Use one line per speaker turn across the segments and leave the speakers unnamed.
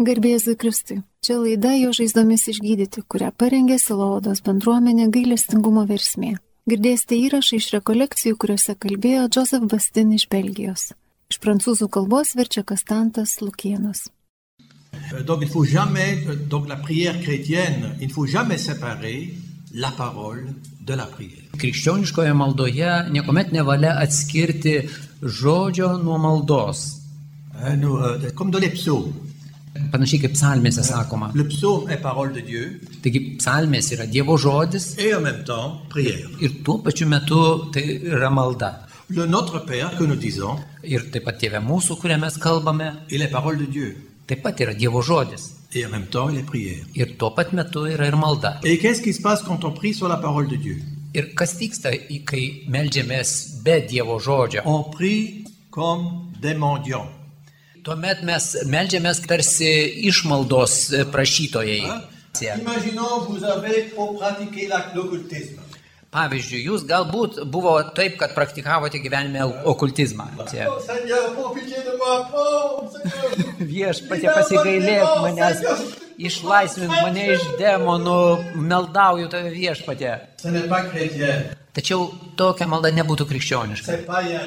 Garbėzui Kristui. Čia laida jo žaizdomis išgydyti, kurią parengė Silovados bendruomenė gailestingumo versmė. Girdėsite įrašą iš rekolekcijų, kuriuose kalbėjo Joseph Bastin iš Belgijos. Iš prancūzų kalbos verčia Kastantas Lukienas.
Euh, Donc il ne faut jamais, euh, donc la prière chrétienne, il ne faut jamais séparer la parole de la prière.
Krikščioniškoje maldoje niekuomet nevalia atskirti žodžio nuo maldos.
Hein, nous, euh, comme dans les psaumes.
Panašiai kaip psalmėse sakoma.
Le psaume est parole de Dieu
Taigi psalmės yra Dievo žodis
et en même temps prière.
ir tuo pačiu metu tai yra malda.
Le Notre Père que nous disons,
Ir taip pat Tėve mūsų, kurią mes kalbame,
il est parole de Dieu
taip pat yra Dievo žodis.
et en même temps il est prière.
Ir tuo pat metu yra ir malda.
Et qu'est-ce qui se passe quand on prie sur la parole de Dieu
Ir kas vyksta, į- kai melžiamės be Dievo žodžio?
On prie comme des mendiants.
Tuomet mes melžiamės tarsi išmaldos e, prašytojai.
hein. Imaginons vous avez pour pratiquer la- l'occultisme.
Pavyzdžiui, jūs galbūt buvo taip, kad praktikavote gyvenime al- okultizmą. Tie-
Oh Seigneur, pour pitié de moi, oh Seigneur.
Viešpatie pasigailėk manęs, išlaisvink mane iš demonų, meldauju tave viešpatie.
Ce n'est pas chrétien,
Tačiau tokia malda nebūtų krikščioniška,
c'est païen.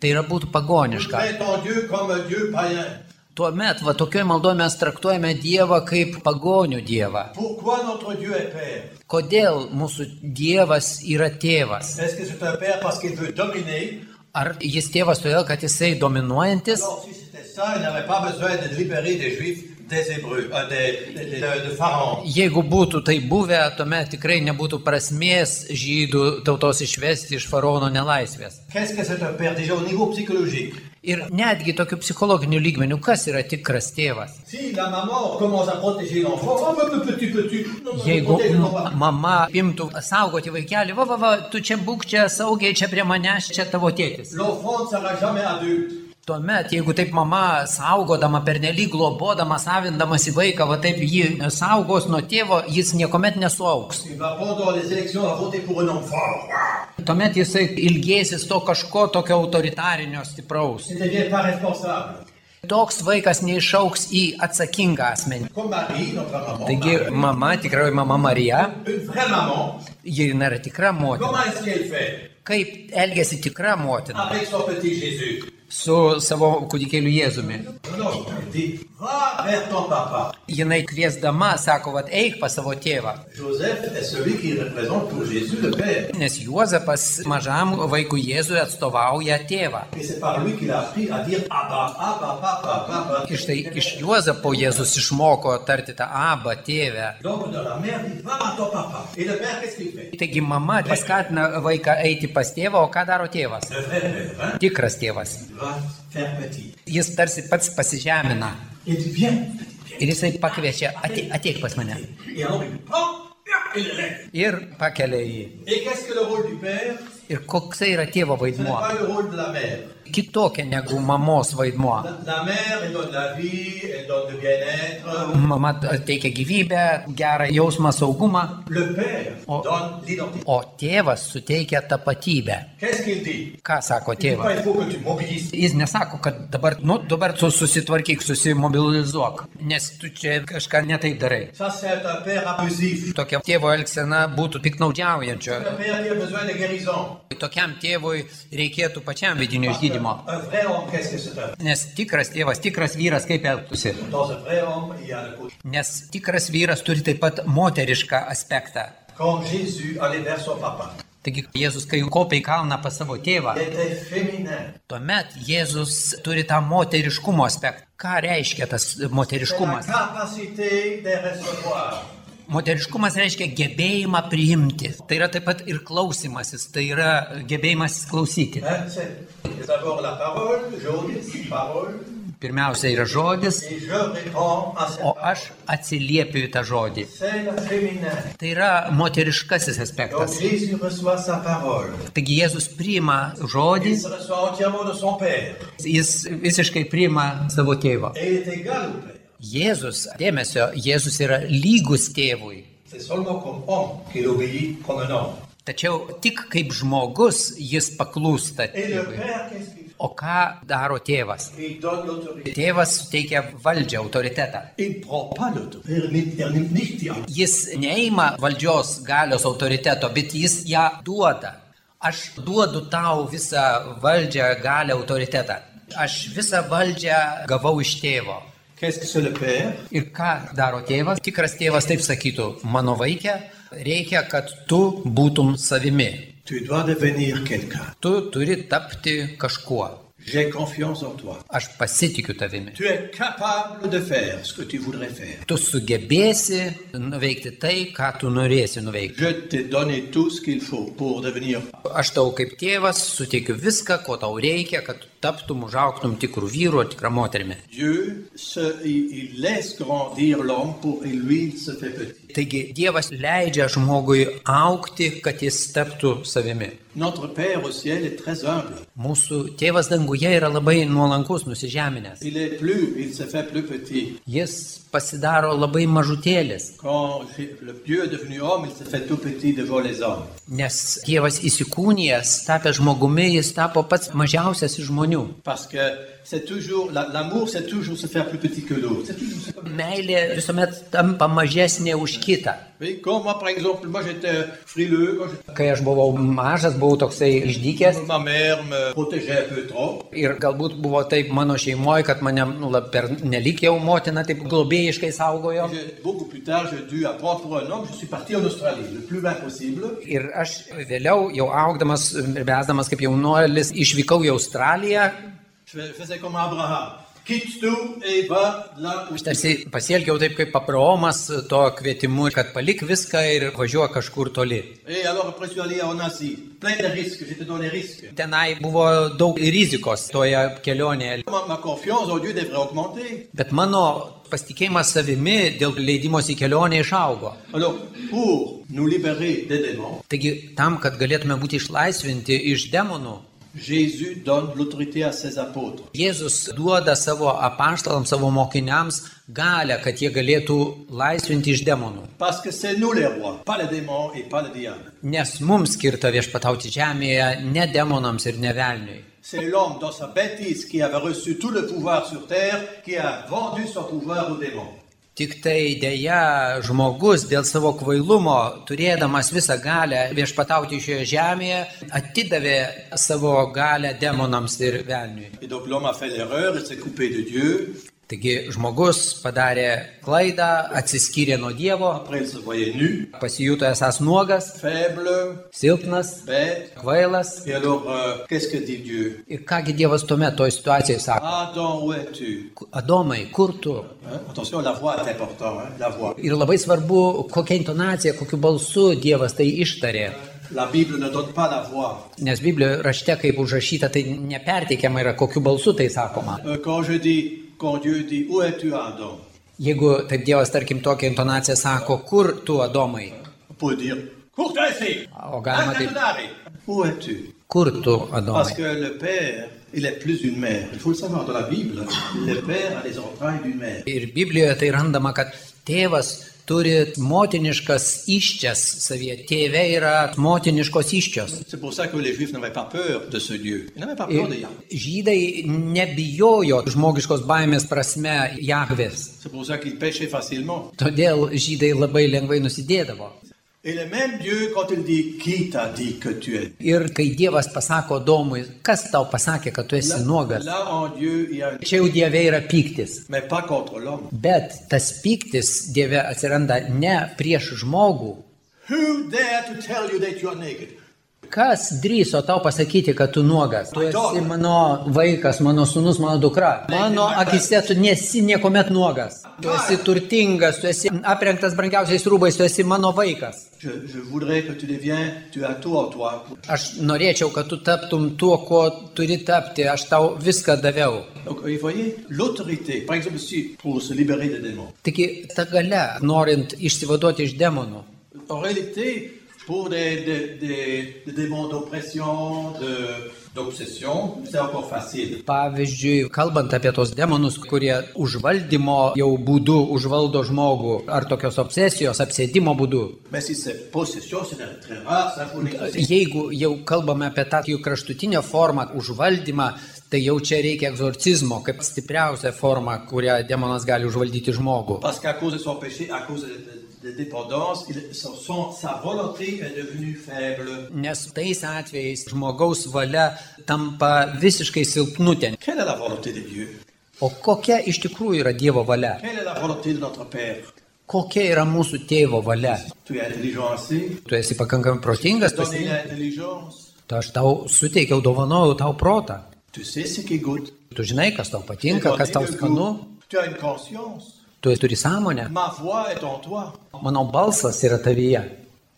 tai yra būtų pagoniška.
Mets ton Dieu comme un Dieu païen.
Tuomet, va tokioje maldoje mes traktuojame Dievą kaip pagonių Dievą.
Pourquoi notre Dieu est Père
Kodėl mūsų Dievas yra tėvas?
Est-ce que c'est un Père parce qu'il veut dominer
Ar jis tėvas todėl, kad jisai dominuojantis?
Alors, si c'était ça, il n'avait pas besoin de libérer des Juifs des Hébreux, euh, des, des- des- de, de Pharaon.
Jeigu būtų tai buvę, tuomet tikrai nebūtų prasmės žydų tautos išvesti iš faraono nelaisvės.
Qu'est-ce que c'est un Père Déjà au niveau psychologique.
Ir netgi tokiu psichologiniu lygmeniu, kas yra tikras tėvas?
Si la maman commence à protéger l'enfant, oh, un peu petit, petit, non, non,
Jeigu
protège, non,
m- mama imtų saugoti vaikelį, va, va, va, tu čia būk čia saugiai, čia prie manęs, čia tavo tėtis.
L'enfant ne sera jamais adulte.
Tuomet, jeigu taip mama saugodama, pernelyg globodama, savindamas į vaiką, va taip jį saugos nuo tėvo, jis niekuomet nesuauks.
Il va pendant les élections va voter pour un homme fort.
Tuomet jisai ilgėsis to kažko tokio autoritarinio stipraus.
Il ne devient pas responsable.
Toks vaikas neišauks į atsakingą asmenį.
Comme Marie, notre maman.
Taigi mama, tikroji mama Marija,
Une vraie maman,
ji jinai yra tikra motina.
comment est-ce qu'elle fait
Kaip elgesi tikra motina
avec son petit Jésus
su savo kūdikėliu Jėzumi?
Non, non, je te dis, va vers ton papa.
Jinai kviesdama sako, vad eik pas savo tėvą.
Joseph est celui qui représente pour Jésus le Père.
Nes Juozapas mažam vaikui Jėzui atstovauja tėvą.
Et c'est par lui qu'il a appris à dire ah bah, Abba, Abba, Papa, Papa.
Ir štai iš Juozapo Jėzus išmoko tarti tą abą tėvę.
L'homme de la mère dit, va à ton papa. Et le père, qu'est-ce qu'il fait
Taigi mama paskatina vaiką eiti pas tėvą, o ką daro tėvas?
Le vrai père, hein,
Tikras tėvas.
il va faire petit.
Jis tarsi pats pasižemina
Il dit, viens, petit,
ir jisai pakviečia, ate, ateik pas mane.
viens. Et alors il prend, et il lève.
Ir pakelia jį.
Et qu'est-ce que le rôle du père
Ir koksai yra tėvo
Ce n'est
vaidmuo?
pas le rôle de la mère.
Kitokia negu mamos vaidmuo.
La, la mère, elle donne la vie, elle donne le bien-être.
Mama teikia gyvybę, gerą jausmą, saugumą,
Le père
Oh.
donne l'identité.
o tėvas suteikia tapatybę.
Qu'est-ce qu'il dit
Ką sako
Il dit
tėvas?
pas, il faut que tu m'obéisses.
Jis nesako, kad dabar, nu, dabar tu susitvarkyk, susimobilizuok, nes tu čia kažką netai darai.
Ça, c'est un père abusif.
Tokia tėvo elgsena būtų piknaudžiaujančio.
Un père qui a besoin de guérison.
Tokiam tėvui reikėtų pačiam vidinio išgydymo.
Un vrai homme, qu'est-ce que c'est un
Nes tikras tėvas, tikras vyras kaip elgtųsi.
Dans un vrai homme, il y a le côté.
Nes tikras vyras turi taip pat moterišką aspektą.
Quand Jésus allait vers son papa,
Taigi Jėzus, kai kopia į kalną pas savo tėvą,
il était féminin.
tuomet Jėzus turi tą moteriškumo aspektą. Ką reiškia tas
C'est la
moteriškumas?
capacité de recevoir.
Moteriškumas reiškia gebėjimą priimti. Tai yra taip pat ir klausimasis, tai yra gebėjimas klausyti.
Hein, c'est d'abord la parole, j'obéis, parole,
Pirmiausia yra žodis,
et je réponds à cette
o
parole.
aš atsiliepiu į tą žodį.
C'est le féminin.
Tai yra moteriškasis
Donc
aspektas.
Jésus reçoit sa parole.
Taigi Jėzus priima žodį,
Il se reçoit entièrement de son Père.
jis visiškai priima savo tėvą.
Et il est égal au Père.
Jėzus, dėmesio, Jėzus yra lygus tėvui.
C'est seulement comme homme qu'il obéit comme un homme.
Tačiau tik kaip žmogus jis paklūsta
Et le
tėvui.
Père, qu'est-ce qu'il fait
O ką daro tėvas?
Il donne l'autorité.
Tėvas suteikia valdžią, autoritetą.
Il ne prend pas l'autorité. Er nimmt, er nimmt nicht die Autorität.
Jis neima valdžios galios autoriteto, bet jis ją duoda. Aš duodu tau visą valdžią, galią, autoritetą. Aš visą valdžią gavau iš tėvo.
Qu'est-ce que c'est le père
Ir ką daro tėvas? Tikras tėvas taip sakytų, mano vaikė, reikia, kad tu būtum savimi.
Tu dois devenir quelqu'un.
Tu turi tapti kažkuo.
J'ai confiance en toi.
Aš pasitikiu tavimi.
Tu es capable de faire ce que tu voudrais faire.
Tu sugebėsi nuveikti tai, ką tu norėsi nuveikti.
Je t'ai donné tout ce qu'il faut pour devenir.
Aš tau kaip tėvas suteikiu viską, ko tau reikia, kad tu taptum, užauktum tikrų vyrų ar tikrą moterimi.
Dieu, ce- il, il laisse grandir l'homme pour et lui il se fait petit.
Taigi Dievas leidžia žmogui aukti, kad jis taptų savimi.
Notre Père au ciel est très humble.
Mūsų tėvas danguje yra labai nuolankus, nusižeminęs.
Il est plus, il se fait plus petit.
Jis pasidaro labai mažutėlis,
Quand j'ai- le Dieu est devenu homme, il se fait tout petit devant les hommes.
nes Dievas įsikūnijęs, tapęs žmogumi, jis tapo pats mažiausias iš žmonių.
Parce que c'est toujours la- l'amour, c'est toujours se faire plus petit que l'autre. C'est toujours- c'est comme-
Meilė visuomet tampa mažesnė už kitą.
Oui, comme moi par exemple, moi j'étais frileux, quand j'étais-
Kai aš buvau mažas, buvau toksai išdykęs
ma mère me protégeait un peu trop.
ir galbūt buvo taip mano šeimoje, kad mane nu, lab- per nelik jau motina taip globėjiškai saugojo.
Je- beaucoup plus tard, j'ai dû apprendre pour un homme. Je suis parti en Australie, le plus loin possible.
Ir aš vėliau, jau augdamas ir besdamas kaip jaunuolis, išvykau į Australiją.
Je faisais comme Abraham. Quitte tout et va là où
Aš tarsi pasielgiau taip kaip papromas to kvietimu, kad palik viską ir važiuok kažkur toli.
Et alors après, je suis allé en Asie. Plein de risques, j'étais dans les risques.
Tenai buvo daug rizikos toje kelionėje.
Ma, ma confiance en Dieu devrait augmenter.
Bet mano pasitikėjimas savimi dėl leidimosi į kelionę išaugo.
Alors, pour nous libérer des démons,
Taigi tam, kad galėtume būti išlaisvinti iš demonų,
Jésus donne l'autorité à ses apôtres.
Jėzus duoda savo apaštalams, savo mokiniams galę, kad jie galėtų laisvinti iš demonų.
Parce que c'est nous les rois, pas les démons et pas le diable.
Nes mums skirta viešpatauti žemėje ne demonams ir ne velniui.
C'est l'homme dans sa bêtise qui avait reçu tout le pouvoir sur terre, qui a vendu son pouvoir aux démons.
Tik tai dėja žmogus dėl savo kvailumo, turėdamas visą galę viešpatauti šioje žemėje, atidavė savo galę demonams ir velniui.
Et donc l'homme a fait l'erreur, il s'est coupé de Dieu.
Taigi žmogus padarė klaidą, atsiskyrė nuo Dievo,
Après, il se voyait nu,
pasijuto esas nuogas,
faible,
silpnas,
bête.
kvailas.
Et alors, euh, qu'est-ce que dit Dieu
Ir kągi Dievas tuomet toje situacijoje sako,
Adam, où es-tu
Adomai, kur tu?
Hein, Attention, la voix est importante, hein, la voix.
Ir labai svarbu, kokia intonacija, kokiu balsu Dievas tai ištarė.
La Bible ne donne pas la voix.
Nes Biblijoje rašte, kaip užrašyta, tai neperteikiama yra, kokiu balsu tai sakoma.
Euh, quand je dis, quand Dieu dit, où es-tu Adam
Jeigu taip Dievas, tarkim, tokia intonacija sako, kur tu, Adomai,
On peut dire, cours ici
O galima
Arrête de
taip.
narrer. Où es-tu
kur tu,
Parce
Adomai.
que le père, il est plus une mère. Il faut le savoir dans la Bible. Le père a les entrailles d'une mère.
Ir Biblijoje tai randama, kad tėvas turi motiniškas iščias savyje. Tėve yra motiniškos iščios.
C'est pour ça que les Juifs n'avaient pas peur de ce Dieu. Ils n'avaient pas peur
Ir
de Yahweh.
žydai nebijojo žmogiškos baimės prasme Jahvės.
C'est pour ça qu'ils péchaient facilement.
Todėl žydai labai lengvai nusidėdavo.
Et le même Dieu, quand il dit, qui t'a dit que tu es
Ir kai Dievas pasako Domui, kas tau pasakė, kad tu esi
Là,
nuogas,
là, en Dieu, il y a un...
čia jau Dieve yra pyktis.
Mais pas contre l'homme.
Bet tas pyktis Dieve atsiranda ne prieš žmogų.
Who dare to tell you that you are naked?
Kas drįso tau pasakyti, kad tu nuogas? Tu esi mano vaikas, mano sunus, mano dukra. Mano akise tu nesi niekuomet nuogas. Tu esi turtingas, tu esi aprengtas brangiausiais rūbais, tu esi mano vaikas.
Je, je voudrais que tu deviens, tu as tout en toi.
Aš norėčiau, kad tu taptum tuo, ko turi tapti. Aš tau viską daviau.
Donc, vous voyez, l'autorité, par exemple, si, pour se libérer des démons,
Taigi ta gale, norint išsivaduoti iš demonų,
en réalité, pour des, des, des- des démons d'oppression, de- d'obsession, c'est encore facile.
pavyzdžiui, kalbant apie tos demonus, kurie užvaldymo jau būdu užvaldo žmogų, ar tokios obsesijos, apsėdimo būdu,
Mais si c'est possession, c'est très-
Euh,
très rare, ça faut l'exorciser.
jeigu jau kalbame apie tą jų kraštutinę formą, užvaldymą, tai jau čia reikia egzorcizmo kaip stipriausia forma, kurią demonas gali užvaldyti žmogų.
Parce qu'à cause de son péché, à cause de, de- de dépendance, il- son- son- sa volonté est devenue faible.
Nes tais atvejais žmogaus valia tampa visiškai silpnutė.
Quelle est la volonté de Dieu
O kokia iš tikrųjų yra Dievo valia?
Quelle est la volonté de notre Père
Kokia yra mūsų tėvo valia?
Tu es intelligent assez.
Tu esi pakankamai protingas,
Donner
pasirinkti.
l'intelligence.
Tai aš tau suteikiau, dovanojau tau protą.
Tu sais ce qui goûte.
Tu žinai, kas tau
Tu
patinka, kas tau
connais le
skanu.
goût. Tu as une conscience.
Tu turi sąmonę.
Ma voix est en toi.
Mano balsas yra tavyje.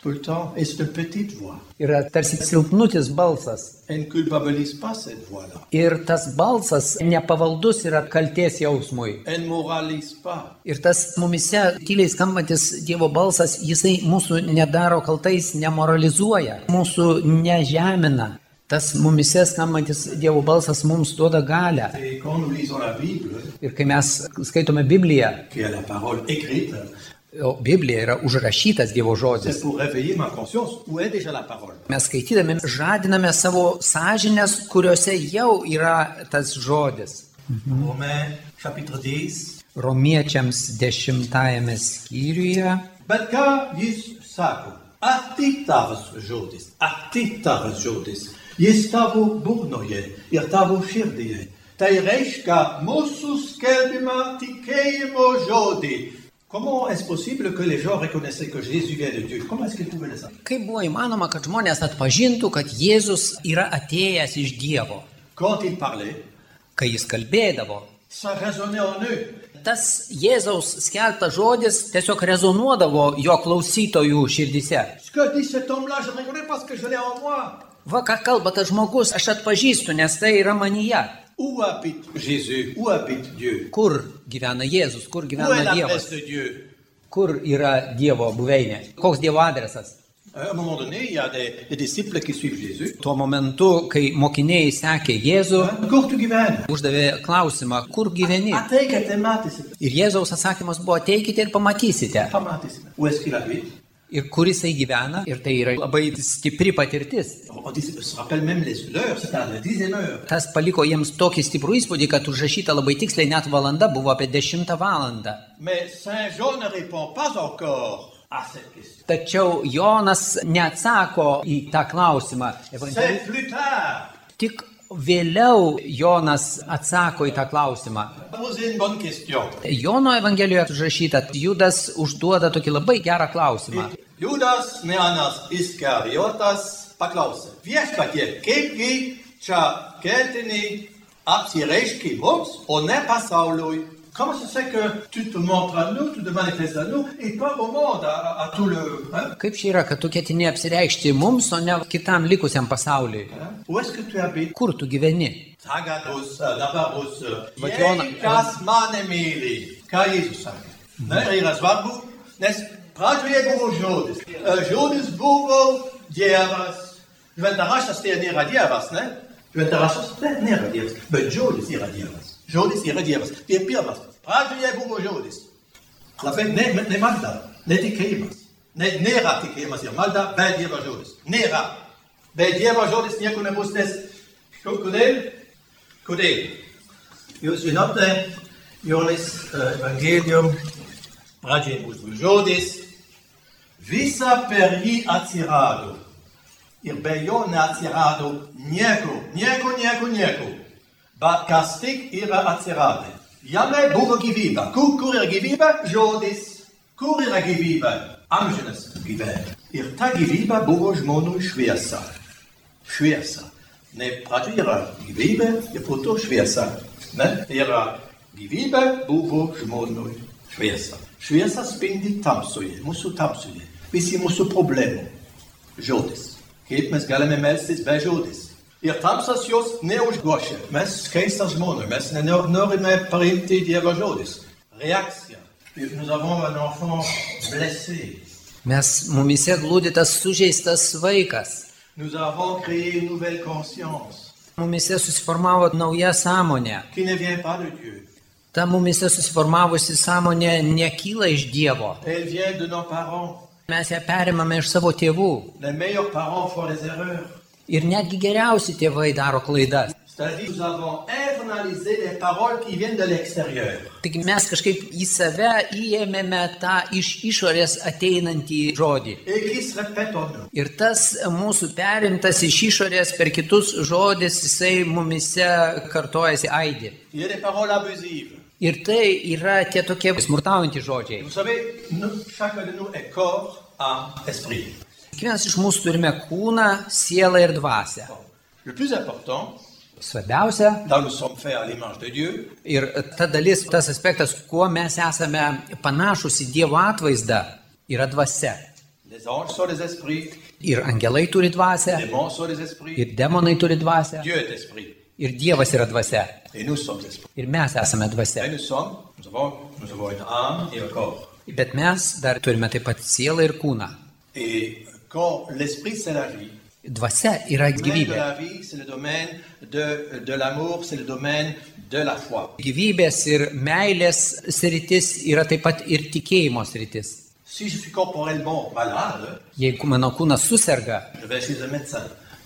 Tout le temps. Et c'est une petite voix.
Yra tarsi silpnutis balsas.
Elle ne culpabilise pas cette voix-là.
Ir tas balsas nepavaldus yra kalties jausmui.
Elle ne moralise pas.
Ir tas mumise tyliai skambantis Dievo balsas, jisai mūsų nedaro kaltais, nemoralizuoja, mūsų nežemina. Tas mumise skambantis Dievo balsas mums duoda galę.
Et quand nous lisons la Bible,
Ir kai mes skaitome Bibliją,
qui est la parole écrite,
o Biblija yra užrašytas Dievo
c'est
žodis,
pour réveiller ma conscience. Où est déjà la parole
mes skaitydami žadiname savo sąžinės, kuriuose jau yra tas žodis.
Romains chapitre 10.
Romiečiams dešimtajame skyriuje
Bet ką jis sako? Arti tavas žodis, arti tavas žodis. Jis tavo burnoje ir tavo širdyje. Tai reiškia mūsų skelbimą tikėjimo žodį. Comment est-ce possible que les gens reconnaissaient que Jésus vient de Dieu Comment est-ce qu'ils pouvaient le savoir
Kaip buvo įmanoma, kad žmonės atpažintų, kad Jėzus yra atėjęs iš Dievo,
Quand ils parlaient,
kai jis kalbėdavo?
ça résonnait en eux.
Tas Jėzaus skeltas žodis tiesiog rezonuodavo jo klausytojų širdise.
Ce que dit cet homme-là, je reconnais parce que je l'ai en moi.
Va ką kalba tas žmogus, aš atpažįstu, nes tai yra manija.
Où habite Jésus Où habite Dieu
Kur gyvena Jėzus, kur
Où est
gyvena
la
Dievas,
place de Dieu
kur yra Dievo buveinė, koks Dievo adresas.
Euh, À un moment donné, il y a des, des disciples qui suivent Jésus.
Tuo momentu, kai mokiniai sekė Jėzų,
Kur tu gyveni?
uždavė klausimą, kur gyveni.
Ateikite, matysite.
Ir Jėzaus atsakymas buvo, ateikite ir pamatysite.
Pamatysite. Où est-ce qu'il habite
ir kur jisai gyvena, ir tai yra labai stipri patirtis.
On dit- on se rappelle même les l'heure, c'est à la dixième heure.
Tas paliko jiems tokį stiprų įspūdį, kad užrašyta labai tiksliai, net valanda buvo apie 10 valandą.
Mais Saint Jean ne répond pas encore à cette question.
Tačiau Jonas neatsako į tą klausimą.
C'est
Evangeli-
plus tard.
Tik vėliau Jonas atsako į tą klausimą.
Poser une bonne question.
Jono Evangelijoje užrašyta, Judas užduoda tokį labai gerą klausimą.
Judas Neanas Iskariotas paklausė, viešpatie, kaipgi čia keltiniai apsireiškė mums, o ne pasauliui. Comment ça se fait que tu te montres à nous, tu te manifestes à nous, et pas au monde, à, à tout le... Hein?
Kaip čia yra, kad tu ketini apsireikšti mums, o ne kitam likusiam pasauliui?
Hein? Où est-ce que tu habites
Kur tu gyveni?
Tagados, uh, Navarros,
Vat Joana-
Jėzus mane myli. Ką Jėzus sakė? Na ir yra svarbu, nes pradžioje buvo žodis. E, Žodis buvo Dievas. Šventaraštas tai nėra Dievas, ne? Šventaraštas tai nėra Dievas, bet žodis yra Dievas. Žodis yra Dievas. Tai pirmas. Pradžioje buvo žodis. Labai ne, ne malda, ne tikėjimas. Ne, nėra tikėjimas ir malda, bet Dievo žodis. Nėra. Bet Dievo žodis nieko nebus, nes kodėl? Kodėl? Jūs žinote, Jonas eh, Evangelium pradžioje mūsų žodis, visa per jį atsirado. Ir be jo neatsirado nieko, nieko, nieko, nieko. Bet kas tik yra atsiradę. Jame buvo gyvybė. Kur, kur yra gyvybė? Žodis. Kur yra gyvybė? Amžinas gyvybė. Ir ta gyvybė buvo žmonių šviesa šviesa. Ne pradžia yra gyvybė ir po to šviesa. Ne? Tai yra gyvybė buvo žmonių šviesa. Šviesa spindi tamsoje, mūsų tamsoje. Visi mūsų problemų. Žodis. Kaip mes galime melstis be žodis. Ir tamsas jos neužgošia. Mes keista žmonių, mes nenor- norime priimti Dievo žodis. Reakcija. Ir Nous avons un enfant blessé.
Mes mumise glūdi tas sužeistas vaikas.
Nous avons créé une nouvelle conscience
Mumise susiformavo nauja sąmonė.
qui ne vient pas de Dieu.
Ta mumise susiformavusi sąmonė nekyla iš Dievo.
Elle vient de nos parents.
Mes ją perimame iš savo tėvų.
Les meilleurs parents font des erreurs.
Ir netgi geriausi tėvai daro klaidas.
C'est-à-dire, nous avons internalisé les paroles qui viennent de l'extérieur.
Taigi mes kažkaip į save įėmėme tą iš išorės ateinantį žodį.
et qui se répète en nous.
Ir tas mūsų perimtas iš išorės per kitus žodis, jisai mumise kartojasi aidį.
Il y a des paroles abusives.
Ir tai yra tie tokie smurtaujantys
Et
žodžiai.
vous savez, nous- chacun de nous est corps, âme, esprit.
Kiekvienas iš mūsų turime kūną, sielą ir dvasę.
Bon. Le plus important,
Svarbiausia
dans nous sommes faits à l'image de Dieu,
ir ta dalis, tas aspektas, kuo mes esame panašus į Dievo atvaizdą, yra dvasia.
les anges sont des esprits,
Ir angelai turi dvasę,
les démons sont des esprits,
ir demonai turi dvasę,
Dieu est esprit,
ir Dievas yra dvasia.
et nous sommes esprits.
Ir mes esame dvasia.
Et nous sommes, nous avons, nous avons une âme et un corps.
Bet mes dar turime taip pat sielą ir kūną.
Et quand l'esprit, c'est la vie.
Dvasia yra
Le domaine de
gyvybė.
la vie, c'est le domaine de, de l'amour, c'est le domaine de la foi.
Gyvybės ir meilės sritis yra taip pat ir tikėjimo sritis.
Si je suis corporellement malade,
Jeigu mano kūnas susirga,
je vais chez un médecin.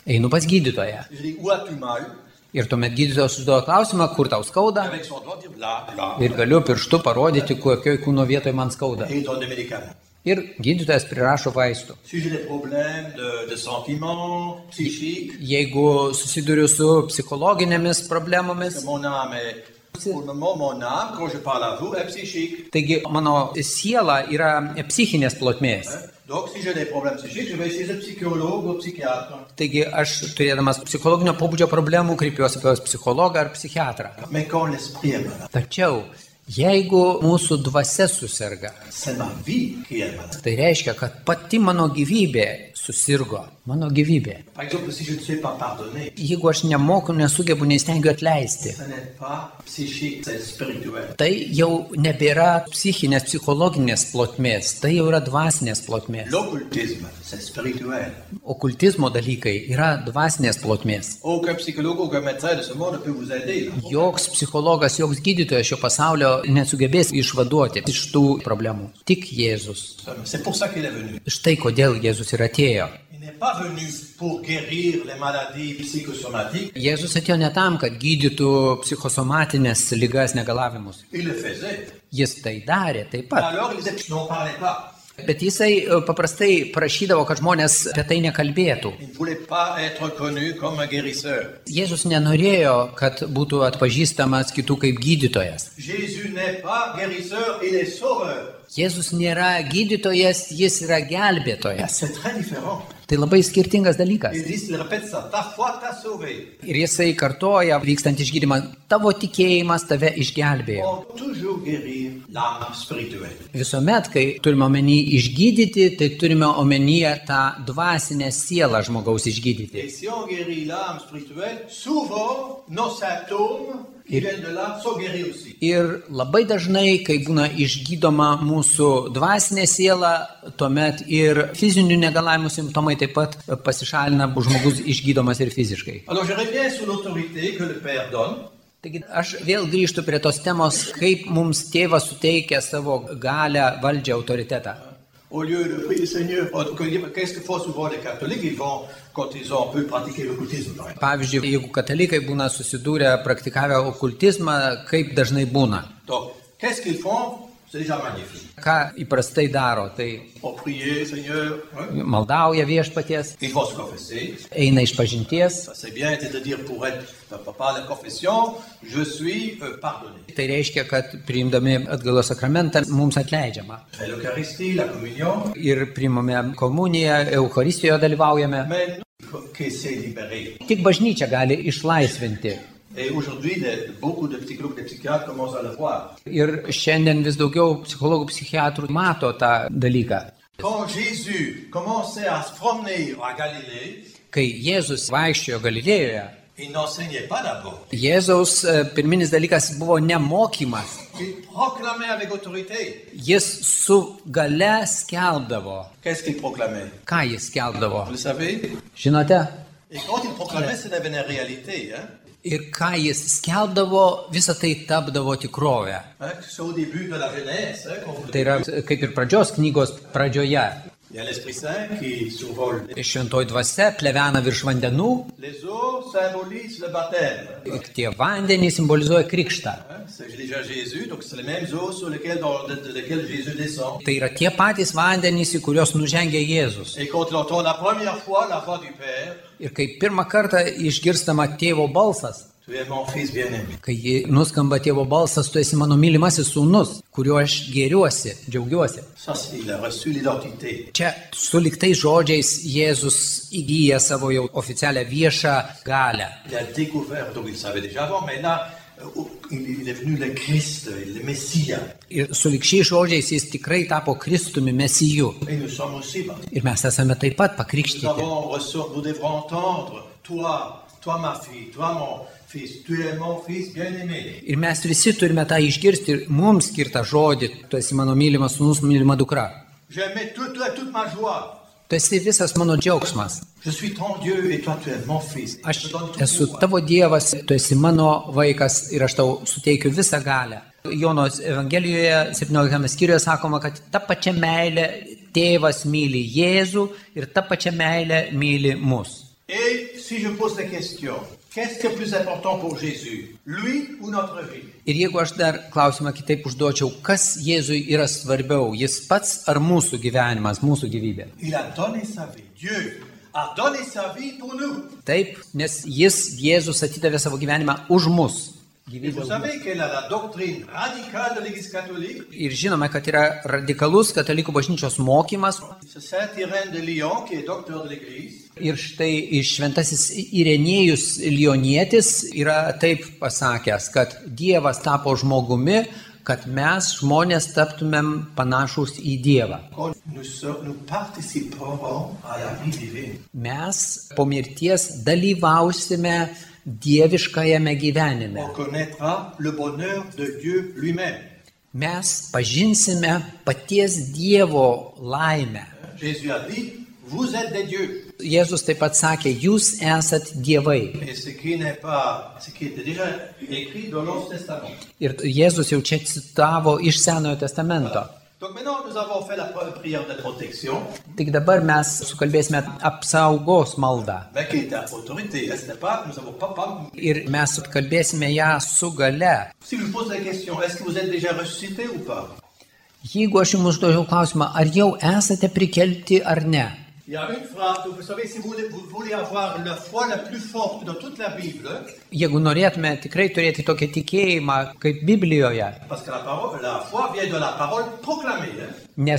einu pas gydytoją.
Je dis, où as-tu mal
Ir tuomet gydytojas užduoda klausimą, kur tau skauda.
Avec son doigt, dire là, là.
Ir galiu pirštu parodyti, kokioj kūno vietoje man skauda.
Et il donne des médicaments.
Ir gydytojas prirašo vaistų.
Si j'ai des problèmes de, de sentiments, psychiques,
Jeigu susiduriu su psichologinėmis
que
problemomis,
mon âme est... Pour le moment, mon âme, quand je parle à vous, est psychique.
taigi mano siela yra psichinės plotmės.
hein. Donc, si j'ai des problèmes psychiques, je vais chez un psychologue ou un psychiatre.
Taigi aš turėdamas psichologinio pobūdžio problemų kreipiuosi pas psichologą ar psichiatrą.
Mais quand l'esprit est malade,
Tačiau jeigu mūsų dvasia susirga,
c'est ma vie qui est malade.
tai reiškia, kad pati mano gyvybė susirgo. Mano gyvybė.
Par exemple, si je ne sais pas pardonner,
Jeigu aš nemoku, nesugebu, neįstengiu atleisti,
ce n'est pas psychique, c'est spirituel.
tai jau nebėra psichinės, psichologinės plotmės, tai jau yra dvasinės plotmės.
L'occultisme, c'est spirituel.
Okultizmo dalykai yra dvasinės plotmės.
Aucun psychologue, aucun médecin de ce monde ne peut vous aider. là.
Joks psichologas, joks gydytojas šio pasaulio nesugebės išvaduoti iš tų problemų. Tik Jėzus.
C'est pour ça qu'il est venu.
Štai kodėl Jėzus ir atėjo.
Il n'est pas venu pour guérir les maladies psychosomatiques.
Jėzus atėjo ne tam, kad gydytų psichosomatinės lygas negalavimus.
Il le faisait.
Jis tai darė taip pat.
Alors, il disait, je n'en parlais pas.
Bet jisai e, paprastai prašydavo, kad žmonės apie tai nekalbėtų.
Il ne voulait pas être connu comme un guérisseur.
Jėzus nenorėjo, kad būtų atpažįstamas kitų kaip gydytojas.
Jésus n'est pas guérisseur, il est sauveur.
Jėzus nėra gydytojas, jis yra gelbėtojas.
C'est très différent.
Tai labai skirtingas dalykas.
Ils disent, ils répètent ça, ta foi t'a sauvé.
Ir jisai kartoja, vykstant išgydymą, tavo tikėjimas tave išgelbėjo.
On peut toujours guérir l'âme spirituelle.
Visuomet, kai turime omeny išgydyti, tai turime omenyje tą dvasinę sielą žmogaus išgydyti.
Et si on guérit l'âme spirituelle, souvent nos symptômes qui viennent de l'âme sont guéris aussi.
Ir labai dažnai, kai būna išgydoma mūsų dvasinė siela, tuomet ir fizinių negalavimų simptomai taip pat pasišalina, bu- žmogus išgydomas ir fiziškai.
Alors je reviens sur l'autorité que le Père donne.
Taigi aš vėl grįžtu prie tos temos, kaip mums tėvas suteikia savo galę, valdžią, autoritetą.
Au lieu de prier le Seigneur, on- qu'est-ce que font souvent les catholiques Ils vont, quand ils ont un peu pratiqué l'occultisme, par exemple.
Pavyzdžiui, jeigu katalikai būna susidūrę praktikavę okultizmą, kaip dažnai būna.
Donc, qu'est-ce qu'ils font C'est déjà magnifique.
Ką įprastai daro, tai
On prie, Seigneur. hein.
maldauja viešpaties,
Ils vont se confesser.
eina iš pažinties,
Ça, c'est bien, c'est-à-dire pour être par la confession, je suis euh, pardonné.
Tai reiškia, kad priimdami atgalos sakramentą mums atleidžiama.
Je fais l'Eucharistie, la communion.
Ir priimame komuniją, Eucharistijoje dalyvaujame.
Mais nous, il faut qu'il s'est libéré.
Tik bažnyčia gali išlaisvinti.
Et aujourd'hui, les- beaucoup de petits groupes de psychiatres commencent à le voir.
Ir šiandien vis daugiau psichologų, psichiatrų mato tą dalyką.
Quand Jésus commençait à se promener à Galilée,
Kai Jėzus vaikščiojo Galilėjoje,
il n'enseignait pas d'abord.
Jėzaus e, pirminis dalykas buvo nemokymas.
Il proclamait avec autorité.
Jis su gale skelbdavo.
Qu'est-ce qu'il proclamait
Ką jis skelbdavo?
Vous le savez
Žinote?
Et quand il proclamait, ça devenait réalité. Hein
Ir ką jis skelbdavo, visa tai tapdavo tikrovę.
Hein, C'est au début de la jeunesse. hein, qu'on vous
Tai yra kaip ir pradžios knygos pradžioje.
Il y a l'Esprit Saint qui survole les-
Šventoji dvasia plevena virš vandenų
les eaux, symbolise le baptême.
Juk tie vandenys simbolizuoja krikštą.
Hein, C'est déjà Jésus, donc c'est les mêmes eaux sur lesquelles, dans- de, de lesquelles Jésus descend.
Tai yra tie patys vandenys, į kuriuos nužengia Jėzus.
Et quand il entend la première fois la voix du Père,
Ir kai pirmą kartą išgirstama tėvo balsas,
tu es mon fils bien-aimé.
kai ji nuskamba tėvo balsas, tu esi mano mylimasis sūnus, kuriuo aš gėriuosi, džiaugiuosi.
Ça, c'est- il a reçu l'identité.
Čia suliktais žodžiais Jėzus įgyja savo jau oficialią viešą galę.
Il a découvert, donc il savait déjà avant, mais là, euh, il il est venu le Christ, le Messia.
Ir sulikšiais žodžiais jis tikrai tapo Kristumi Mesiju.
Et nous sommes aussi partis.
Ir mes esame taip pat
Nous
pakrikštyti.
avons ressort, nous devrons entendre, toi, toi ma fille, toi mon fils, tu es mon fils bien-aimé.
Ir mes visi turime tą išgirsti ir mums skirtą žodį. Tu esi mano mylimas sūnus, mylima dukra.
J'aimais tout, toi, toute ma joie.
Tu esi visas mano džiaugsmas.
Je suis ton Dieu et toi tu es mon fils.
Aš
Je te donne tout
esu
pouvoir.
tavo Dievas, tu esi mano vaikas ir aš tau suteikiu visą galę. Jonos Evangelijoje 17 skyriuje sakoma, kad ta pačia meilė tėvas myli Jėzų ir ta pačia meilė myli mus.
Et si je pose la question, qu'est-ce qui est plus important pour Jésus Lui ou notre vie
Ir jeigu aš dar klausimą kitaip užduočiau, kas Jėzui yra svarbiau, jis pats ar mūsų gyvenimas, mūsų gyvybė?
Il a donné sa vie. Dieu a donné sa vie pour nous.
Taip, nes jis, Jėzus, atidavė savo gyvenimą už mus.
Et
Gyvybę
vous
už mus.
savez quelle est la doctrine radicale de l'Église catholique
Ir žinome, kad yra radikalus katalikų bažnyčios mokymas,
C'est Saint Irène de Lyon qui est docteur de l'Église.
Ir štai iš šventasis Irenėjus Lionietis yra taip pasakęs, kad Dievas tapo žmogumi, kad mes žmonės taptumėm panašus į Dievą.
Quand nous, sommes- nous participerons à la vie divine.
Mes po mirties dalyvausime dieviškajame gyvenime.
On connaîtra le bonheur de Dieu lui-même.
Mes pažinsime paties Dievo laimę.
Jésus a dit, vous êtes des dieux.
Jėzus taip pat sakė, jūs esat dievai.
Et ce qui n'est pas, ce qui était déjà écrit dans l'Ancien Testament.
Ir Jėzus jau čia citavo iš Senojo testamento.
Donc maintenant, nous avons fait la pre- prière de protection,
Tik dabar mes sukalbėsime apsaugos maldą.
mais qui est à autorité, hein, ce n'est pas, nous n'avons pas, pas-
Ir mes kalbėsime ją su gale.
Si je vous pose la question, est-ce que vous êtes déjà ressuscité ou pas
Jeigu aš jums užduočiau klausimą, ar jau esate prikelti ar ne,
Il y a une phrase, vous savez, si vous voulez, vous voulez avoir la foi la plus forte dans toute la Bible,
jeigu norėtume tikrai turėti tokį tikėjimą kaip Biblijoje,
Parce que la, parole, la foi vient de la parole proclamée, hein,
nes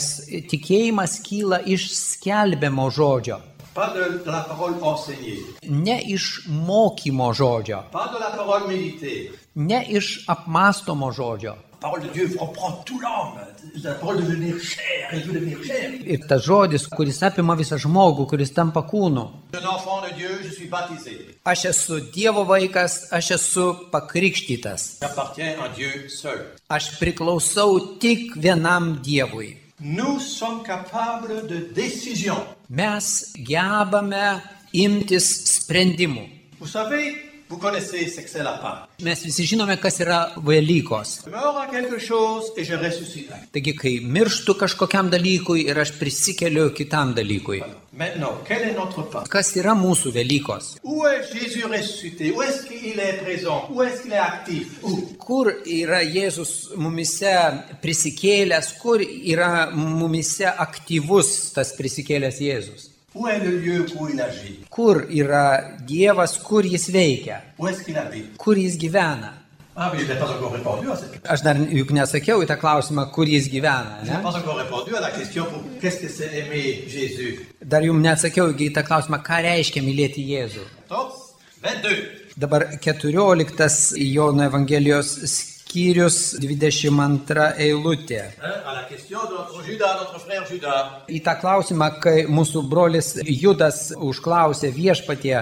tikėjimas kyla iš skelbiamo žodžio,
pas de, de la parole enseignée,
ne iš mokymo žodžio,
pas de la parole méditée.
ne iš apmastomo žodžio.
La parole de Dieu, on prend tout l'homme, la parole de devenir chair, elle veut devenir chair.
Ir tas žodis, kuris apima visą žmogų, kuris tampa kūnu.
Un enfant de Dieu, je suis baptisé.
Aš esu Dievo vaikas, aš esu pakrikštytas.
J'appartiens à Dieu seul.
Aš priklausau tik vienam Dievui.
Nous sommes capables de décision.
Mes gebame imtis sprendimų.
Vous savez, vous connaissez ce que c'est la Pâque.
Mes visi žinome, kas yra Velykos.
Je meurs à quelque chose et je ressuscite.
Taigi, kai mirštu kažkokiam dalykui ir aš prisikeliu kitam dalykui.
Maintenant, quelle est notre Pâque
Kas yra mūsų Velykos?
Où est Jésus ressuscité Où est-ce qu'il est présent Où est-ce qu'il est actif Où
Kur yra Jėzus mumise prisikėlęs, kur yra mumise aktyvus tas prisikėlęs Jėzus?
Où est le lieu où il agit
Kur yra Dievas, kur jis veikia,
Où est-ce qu'il habite
kur jis gyvena?
Ah, mais je n'ai pas encore répondu à cette question.
Aš dar juk nesakiau į tą klausimą, kur jis gyvena.
Je n'ai
Ne?
pas encore répondu à la question pour qu'est-ce que c'est aimer Jésus.
Dar jums nesakiau į tą klausimą, ką reiškia mylėti Jėzų.
14, 22.
Dabar 14 Jono Evangelijos skyrius 22 eilutė.
Hein, à la question de notre Judas, notre frère Judas.
Į tą klausimą, kai mūsų brolis Judas užklausė viešpatie,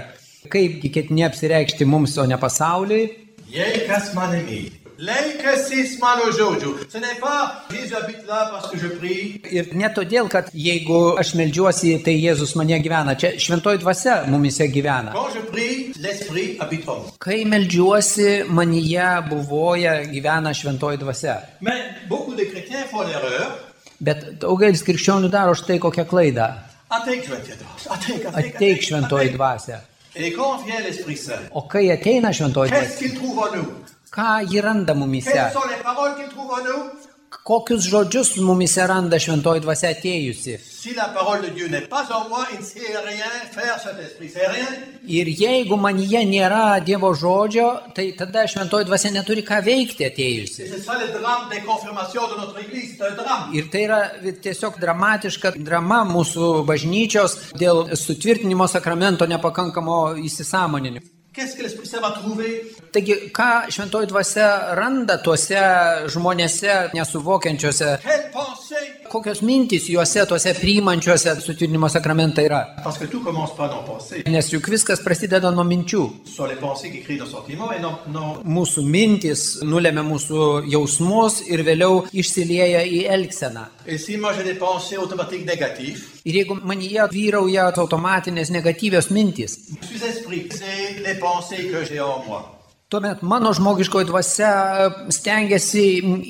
kaipgi ketini apsireikšti mums, o ne pasauliui,
Yekas manemi. Leikasis mano jojo. Ce n'est pas Jésus habite là parce que je prie.
Ir ne todėl, kad jeigu aš melžiuosi, tai Jėzus mane gyvena. Čia šventoji dvasia mumise gyvena.
Quand je prie, l'esprit habite en moi.
Kai melžiuosi, manyje buvoja gyvena šventoji dvasia.
Mais beaucoup de chrétiens font l'erreur.
Bet daugelis krikščionių daro štai kokią klaidą.
Ateik, je vais te dire. Ateik, ateik, ateik,
Ateik šventoji
ateik.
dvasia.
Et quand vient l'Esprit Saint,
O kai ateina šventoji
qu'est-ce
dvasia,
qu'il trouve en nous
ką ji randa mumise?
Quelles sont les paroles qu'il trouve en nous
Kokius žodžius mumise randa šventoji dvasia atėjusi?
Si la parole de Dieu n'est pas en moi, il ne sait rien faire cet Esprit. C'est rien.
Ir jeigu manyje nėra Dievo žodžio, tai tada šventoji dvasia neturi ką veikti
Et
atėjusi.
c'est ça le drame des confirmations de notre Église. C'est un drame.
Ir tai yra tiesiog dramatiška drama mūsų bažnyčios dėl sutvirtinimo sakramento nepakankamo įsisamoninimo.
Qu'est-ce que l'Esprit Saint va trouver
Taigi, ką šventoji dvasia randa tuose žmonėse nesuvokiančiuose,
Quelle pensée
kokios mintys juose, tuose priimančiuose sutvirtinimo sakramentą yra?
Parce que tout commence par nos pensées.
Nes juk viskas prasideda nuo minčių.
Ce sont les pensées qui créent nos sentiments et non, non
Mūsų mintis nulemia mūsų jausmus ir vėliau išsilieja į elgseną.
Et si moi j'ai des pensées automatiques négatives,
Ir jeigu manyje vyrauja automatinės negatyvios mintys,
je suis esprit, c'est les pensées que j'ai en moi.
tuomet mano žmogiškoji dvasia stengiasi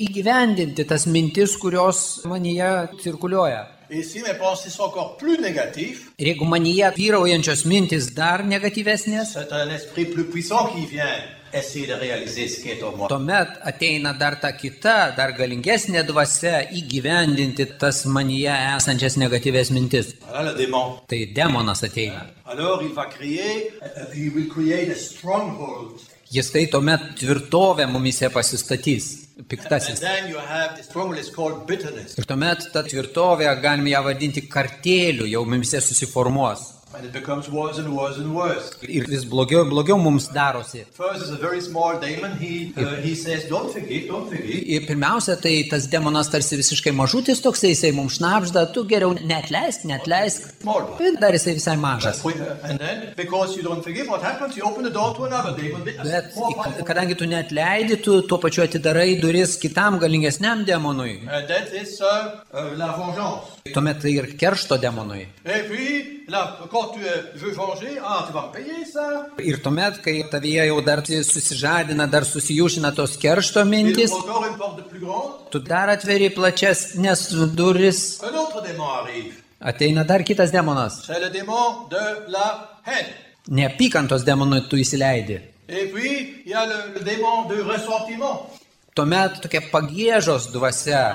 įgyvendinti tas mintis, kurios manyje cirkuliuoja.
Et si mes pensées sont encore plus négatives,
Ir jeigu manyje vyraujančios mintis dar negatyvesnės,
c'est un esprit plus puissant qui vient essayer de réaliser ce qui est en moi.
tuomet ateina dar ta kita, dar galingesnė dvasia įgyvendinti tas manyje esančias negatyves mintis.
Voilà le démon.
Tai demonas ateina.
Alors il va créer, euh, he will create a stronghold.
Jis tai tuomet tvirtovę mumise pasistatys,
And
piktasis.
then you have the stronghold is called bitterness.
Ir tuomet ta tvirtovė, galime ją vadinti kartėliu, jau mumise susiformuos.
And it becomes worse and worse and worse.
Ir vis blogiau ir blogiau mums darosi.
First is a very small demon. He, uh, he says, don't forgive, don't forgive.
Ir pirmiausia, tai tas demonas tarsi visiškai mažutis toksai, jisai mums šnapžda, tu geriau netleisk, netleisk.
Small one.
Ir dar jisai visai mažas.
With, uh, and then, because you don't forgive, what happens? You open the door to another demon.
Bet
More
i-
powerful.
kadangi tu netleidi, tu tuo pačiu atidarai duris kitam galingesniam demonui.
And that is uh, euh, la vengeance.
Tuomet tai ir keršto demonui.
Et puis, là, quand tu euh, veux venger, ah, tu vas me payer ça.
Ir tuomet, kai tavyje jau dar susižadina, dar susijūšina tos keršto
Il
mintis,
ouvre encore une porte de plus grande.
tu dar atveri plačias nes duris,
Un autre démon arrive.
ateina dar kitas demonas.
C'est le démon de la haine.
Neapykantos demonui tu įsileidi.
Et puis, il y a le, le démon du ressentiment.
Tuomet tokia pagėžos dvasia.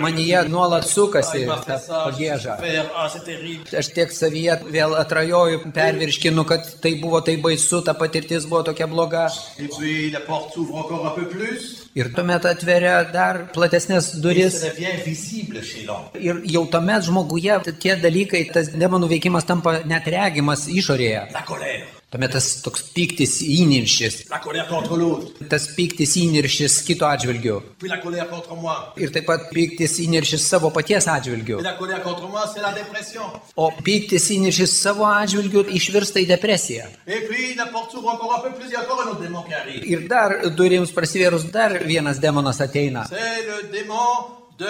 Manyje nuolat
Ah,
sukasi
il m'a fait
ta
ça, je me suis
pagėža.
fait, ah, c'est terrible.
Aš tiek savyje vėl atrajoju, pervirškinu, kad tai buvo tai baisu, ta patirtis buvo tokia bloga.
Et puis, la porte s'ouvre encore un peu plus.
Ir tuomet atveria dar platesnės
Et
duris.
ça devient visible chez l'homme.
Ir jau tuomet žmoguje tie dalykai, tas demonų veikimas tampa net regimas išorėje.
La colère.
Tuomet tas toks piktis įniršis,
La colère contre l'autre.
tas piktis įniršis kito atžvilgiu.
Puis la colère contre moi.
Ir taip pat piktis įniršis savo paties atžvilgiu.
Et la colère contre moi, c'est la dépression.
O piktis įniršis savo atžvilgiu išvirsta į depresiją.
Et puis la porte s'ouvre encore un peu plus, il y a encore un autre démon qui arrive.
Ir dar durims prasivėrus dar vienas demonas ateina.
C'est le démon de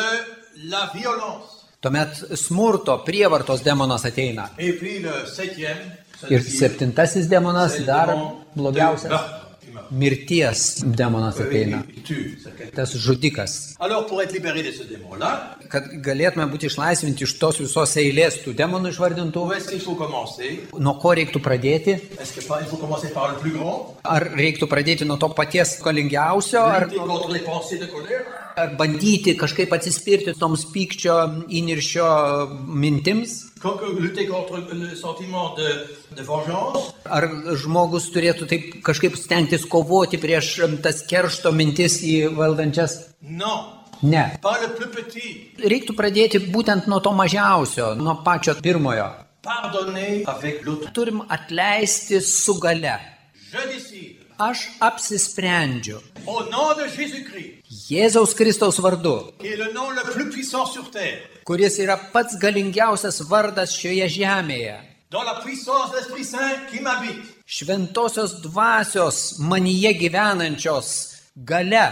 la violence.
Tuomet smurto, prievartos demonas ateina.
Et puis le septième,
Ir
celui-ci,
septintasis demonas
c'est le
dar
démon de
blogiausias.
meurtre. Il meurt.
Mirties demonas ateina.
Il tue, c'est quelqu'un.
Tas žudikas.
Alors pour être libéré de ce démon-là,
Kad galėtume būti išlaisvinti iš tos visos eilės tų demonų išvardintų,
où est-ce qu'il faut commencer
nuo ko reiktų pradėti?
Est-ce qu'il faut commencer par le plus grand
Ar reiktų pradėti nuo to paties galingiausio, ar,
Lutter contre les pensées de colère
ar bandyti kažkaip atsispirti toms pykčio įniršio mintims?
Comme que Lutter contre le sentiment de, de vengeance
Ar žmogus turėtų taip kažkaip stengtis kovoti prieš em, tas keršto mintis į valdančias?
Non.
Ne.
Par le plus petit.
Reiktų pradėti būtent nuo to mažiausio, nuo pačio pirmojo.
Pardonner avec l'autre.
Turim atleisti su gale.
Je décide,
Aš apsisprendžiu
au nom de Jésus-Christ,
Jėzaus Kristaus vardu,
qui est le nom le plus puissant sur terre,
kuris yra pats galingiausias vardas šioje žemėje.
dans la puissance de l'Esprit Saint qui m'habite.
Šventosios dvasios manyje gyvenančios gale.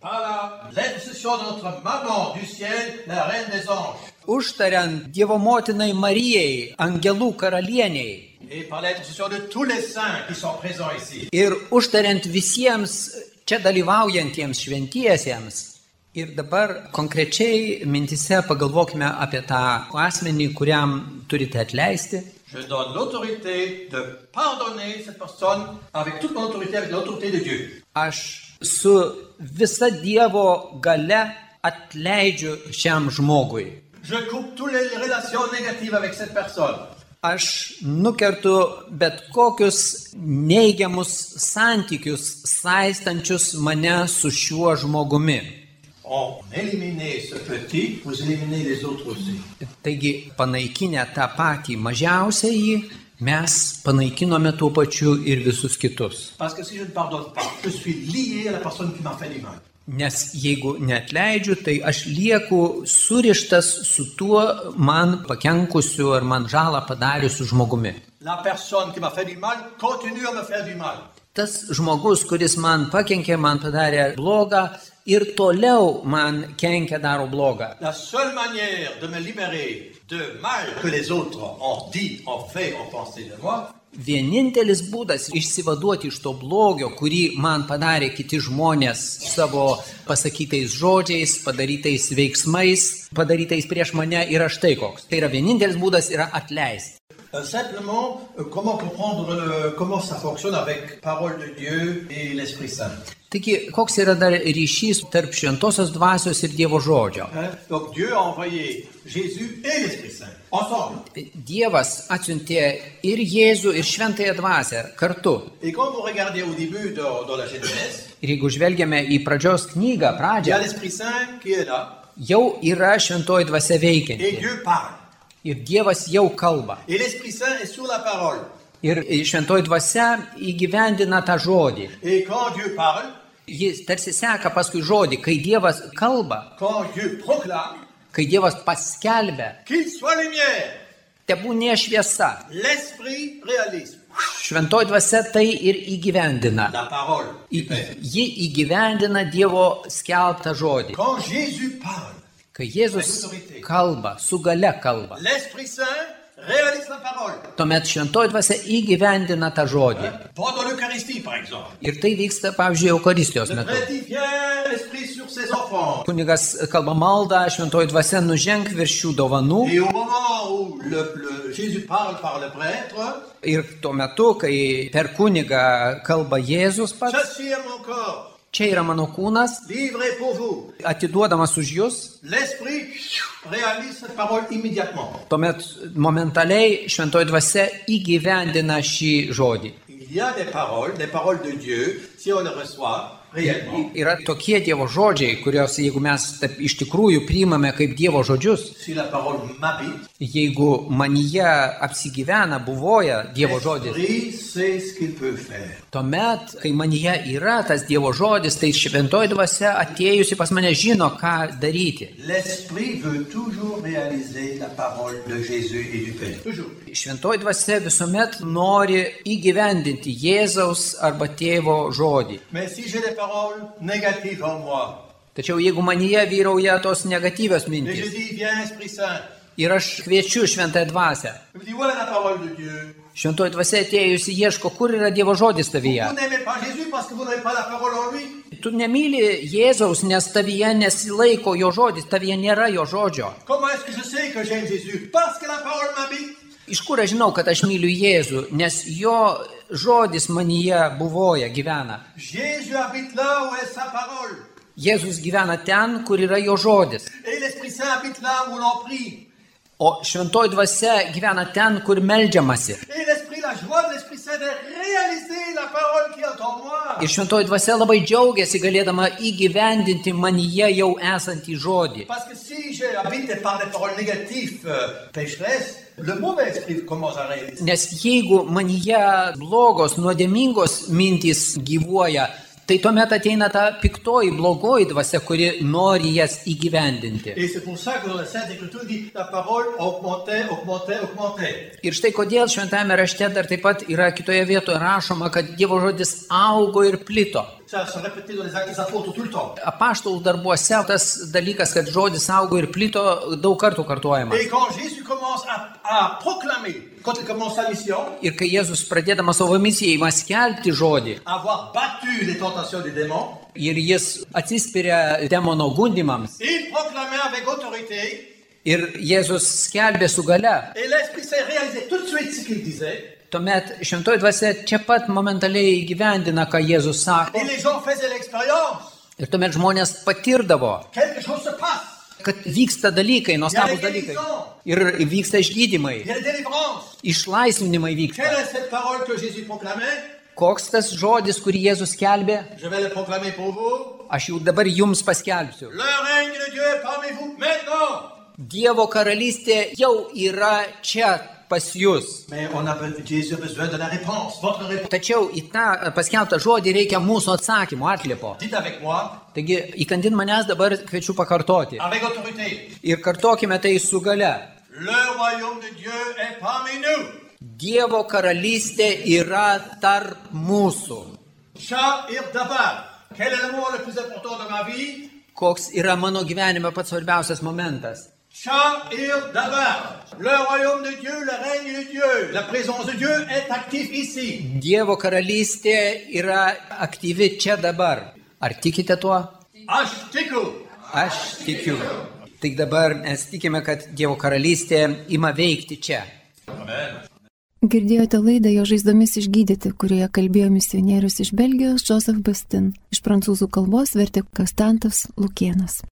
Par la- l'intercession de notre maman du ciel, la reine des anges,
Užtariant Dievo motinai Marijai, angelų karalieniai,
et par l'intercession de tous les saints qui sont présents ici,
Ir užtariant visiems čia dalyvaujantiems šventiesiems. Ir dabar konkrečiai mintise pagalvokime apie tą asmenį, kuriam turite atleisti.
Je donne l'autorité de pardonner cette personne avec toute mon autorité, avec l'autorité de Dieu.
Aš su visa Dievo gale atleidžiu šiam žmogui.
Je coupe toutes les relations négatives avec cette personne.
Aš nukertu bet kokius neigiamus santykius, saistančius mane su šiuo žmogumi.
On éliminait ce petit, vous éliminez les autres aussi.
Taigi, panaikinę tą patį mažiausiąjį, mes panaikinome tuo pačiu ir visus kitus.
Parce que si je ne pardonne pas, je suis lié à la personne qui m'a fait du mal.
Nes jeigu netleidžiu, tai aš lieku surištas su tuo man pakenkusiu ar man žalą padariusiu žmogumi.
La personne qui m'a fait du mal continue à me faire du mal.
Tas žmogus, kuris man pakenkė, man padarė blogą ir toliau man kenkia daro blogą.
La seule manière de me libérer de mal que les autres ont dit, ont fait, ont pensé de moi,
Vienintelis būdas išsivaduoti iš to blogio, kurį man padarė kiti žmonės savo pasakytais žodžiais, padarytais veiksmais, padarytais prieš mane yra štai koks. Tai yra vienintelis būdas yra atleisti.
euh, simplement, euh, comment comprendre le- comment ça fonctionne avec parole de Dieu et l'Esprit Saint.
Taigi, koks yra dar ryšys tarp šventosios dvasios ir Dievo žodžio?
Hein? Donc Dieu a envoyé Jésus et l'Esprit Saint ensemble.
Dievas atsiuntė ir Jėzų, ir šventąją dvasę kartu.
Et quand vous regardez au début dans, dans la Genèse,
Ir jeigu žvelgiame į pradžios knygą,
il y a
pradžią,
l'Esprit Saint qui est là
jau yra šventoji dvasia
et
veikianti.
Dieu parle.
Ir Dievas jau kalba.
Et l'Esprit Saint est sur la parole.
Ir šventoji dvasia įgyvendina tą žodį.
Et quand Dieu parle,
Jis tarsi seka paskui žodį, kai Dievas kalba,
quand Dieu proclame
kai Dievas paskelbia,
qu'il soit lumière,
tebūnė šviesa.
l'Esprit réalise
Šventoji dvasia tai ir įgyvendina.
la parole
Į-
du Père.
Ji įgyvendina Dievo skelbtą žodį.
Quand Jésus parle,
Kai Jėzus kalba, su gale kalba,
l'Esprit Saint réalise la parole.
tuomet šventoji dvasia įgyvendina tą žodį.
Pendant l'Eucharistie, par exemple.
Ir tai vyksta, pavyzdžiui, Eucharistijos
Le
metu.
prêtre vient, l'Esprit sur ses enfants.
Kunigas kalba maldą, šventoji dvasia nuženk virš šių dovanų.
Et au moment où le- le- Jésus parle par le prêtre,
Ir tuo metu, kai per kunigą kalba Jėzus pats,
ceci est mon corps,
čia yra mano kūnas,
livré pour vous.
atiduodamas už jūs,
L'Esprit réalise cette parole immédiatement.
tuomet momentaliai šventoji dvasia įgyvendina šį žodį.
Il y a des paroles, des paroles de Dieu, si on les reçoit réellement.
Yra tokie Dievo žodžiai, kuriuos jeigu mes taip iš tikrųjų priimame kaip Dievo žodžius,
Si la parole m'habite,
jeigu manyje apsigyvena, buvoja Dievo žodis,
l'Esprit sait ce qu'il peut faire.
tuomet, kai manyje yra tas Dievo žodis, tai šventoji dvasia atėjusi pas mane žino, ką daryti.
L'Esprit veut toujours réaliser la parole de Jésus et du Père. Toujours.
Šventoji dvasia visuomet nori įgyvendinti Jėzaus arba tėvo žodį.
Mais si j'ai des paroles négatives en moi,
Tačiau jeigu manyje vyrauja tos negatyvios
et je
mintys
dis, viens Esprit Saint,
ir aš kviečiu šventąją dvasę,
je me dis, voilà la parole de Dieu.
šventoji dvasia atėjusi ieško, kur yra Dievo žodis tavyje.
Vous n'aimez pas Jésus parce que vous n'avez pas la parole en lui.
Tu nemyli Jėzaus, nes tavyje nesilaiko jo žodis, tavyje nėra jo žodžio.
Comment est-ce que je sais que j'aime Jésus Parce que la parole m'habite.
Iš kur aš žinau, kad aš myliu Jėzų, nes jo žodis manyje buvoja, gyvena.
Jésus habite là où est sa parole.
Jėzus gyvena ten, kur yra jo žodis.
Et l'Esprit Saint habite là où l'on prie.
O šventoji dvasia gyvena ten, kur meldžiamasi.
Et l'Esprit, la joie de l'Esprit Saint est réaliser la parole qui est en moi.
Ir šventoji dvasia labai džiaugiasi galėdama įgyvendinti manyje jau esantį žodį.
Parce que si j'habite par des paroles négatives, euh, pécheresses, le mauvais esprit commence à réaliser.
Nes jeigu manyje blogos, nuodėmingos mintys gyvuoja, tai tuomet ateina ta piktoji, blogoji dvasia, kuri nori jas įgyvendinti.
Et c'est pour ça que dans la Sainte Écriture dit la parole augmentait, augmentait, augmentait.
Ir štai kodėl šventame rašte dar taip pat yra kitoje vietoje rašoma, kad Dievo žodis augo ir plito.
Ça se répétait dans les actes des apôtres tout le temps.
Apaštalų darbuose tas dalykas, kad žodis augo ir plito, daug kartų kartuojama.
Et quand Jésus commence à, à proclamer, quand il commence sa mission,
Ir kai Jėzus pradėdamas savo misiją įma skelbti žodį
avoir battu les tentations du démon,
ir jis atsispiria demono gundimams
il proclamait avec autorité
Ir Jėzus skelbė su gale.
Et l'Esprit s'est réalisé tout de suite ce qu'il disait.
Tuomet šventoji dvasia čia pat momentaliai įgyvendina, ką Jėzus sako.
Et les gens faisaient l'expérience.
Ir tuomet žmonės patirdavo,
Quelque chose se passe.
kad vyksta dalykai, nuostabus dalykai. Ir vyksta išgydymai,
Il y a des délivrances.
išlaisvinimai vyksta.
Quelle est cette parole que Jésus proclamait
Koks tas žodis, kurį Jėzus skelbė,
Je vais le proclamer pour vous.
aš jau dabar jums paskelbsiu.
Le règne de Dieu est parmi vous maintenant.
Dievo karalystė jau yra čia pas jūs.
Mais on a be- Jésus a besoin de la réponse, votre réponse.
Tačiau į tą paskelbtą žodį reikia mūsų atsakymų, atlipo.
Dites avec moi,
Taigi, įkandin manęs dabar kviečiu pakartoti.
avec autorité,
Ir kartokime tai su gale.
le royaume de Dieu est parmi nous.
Dievo karalystė yra tarp mūsų.
Shah ir Dabar. Quel est le mot le plus important de ma vie
Koks yra mano gyvenime pats svarbiausias momentas?
Shah ir Dabar. Le royaume de Dieu, le règne de Dieu, la présence de Dieu est active ici.
Dievo karalystė yra aktyvi čia dabar. Ar tikite tuo?
Ashtiku.
Aš tikiu. Tik dabar mes tikime, kad Dievo karalystė ima veikti čia.
Girdėjote laidą jo žaizdomis išgydyti, kurioje kalbėjo misionierius iš Belgijos Joseph Bastin. Iš prancūzų kalbos vertė Kastantas Lukienas.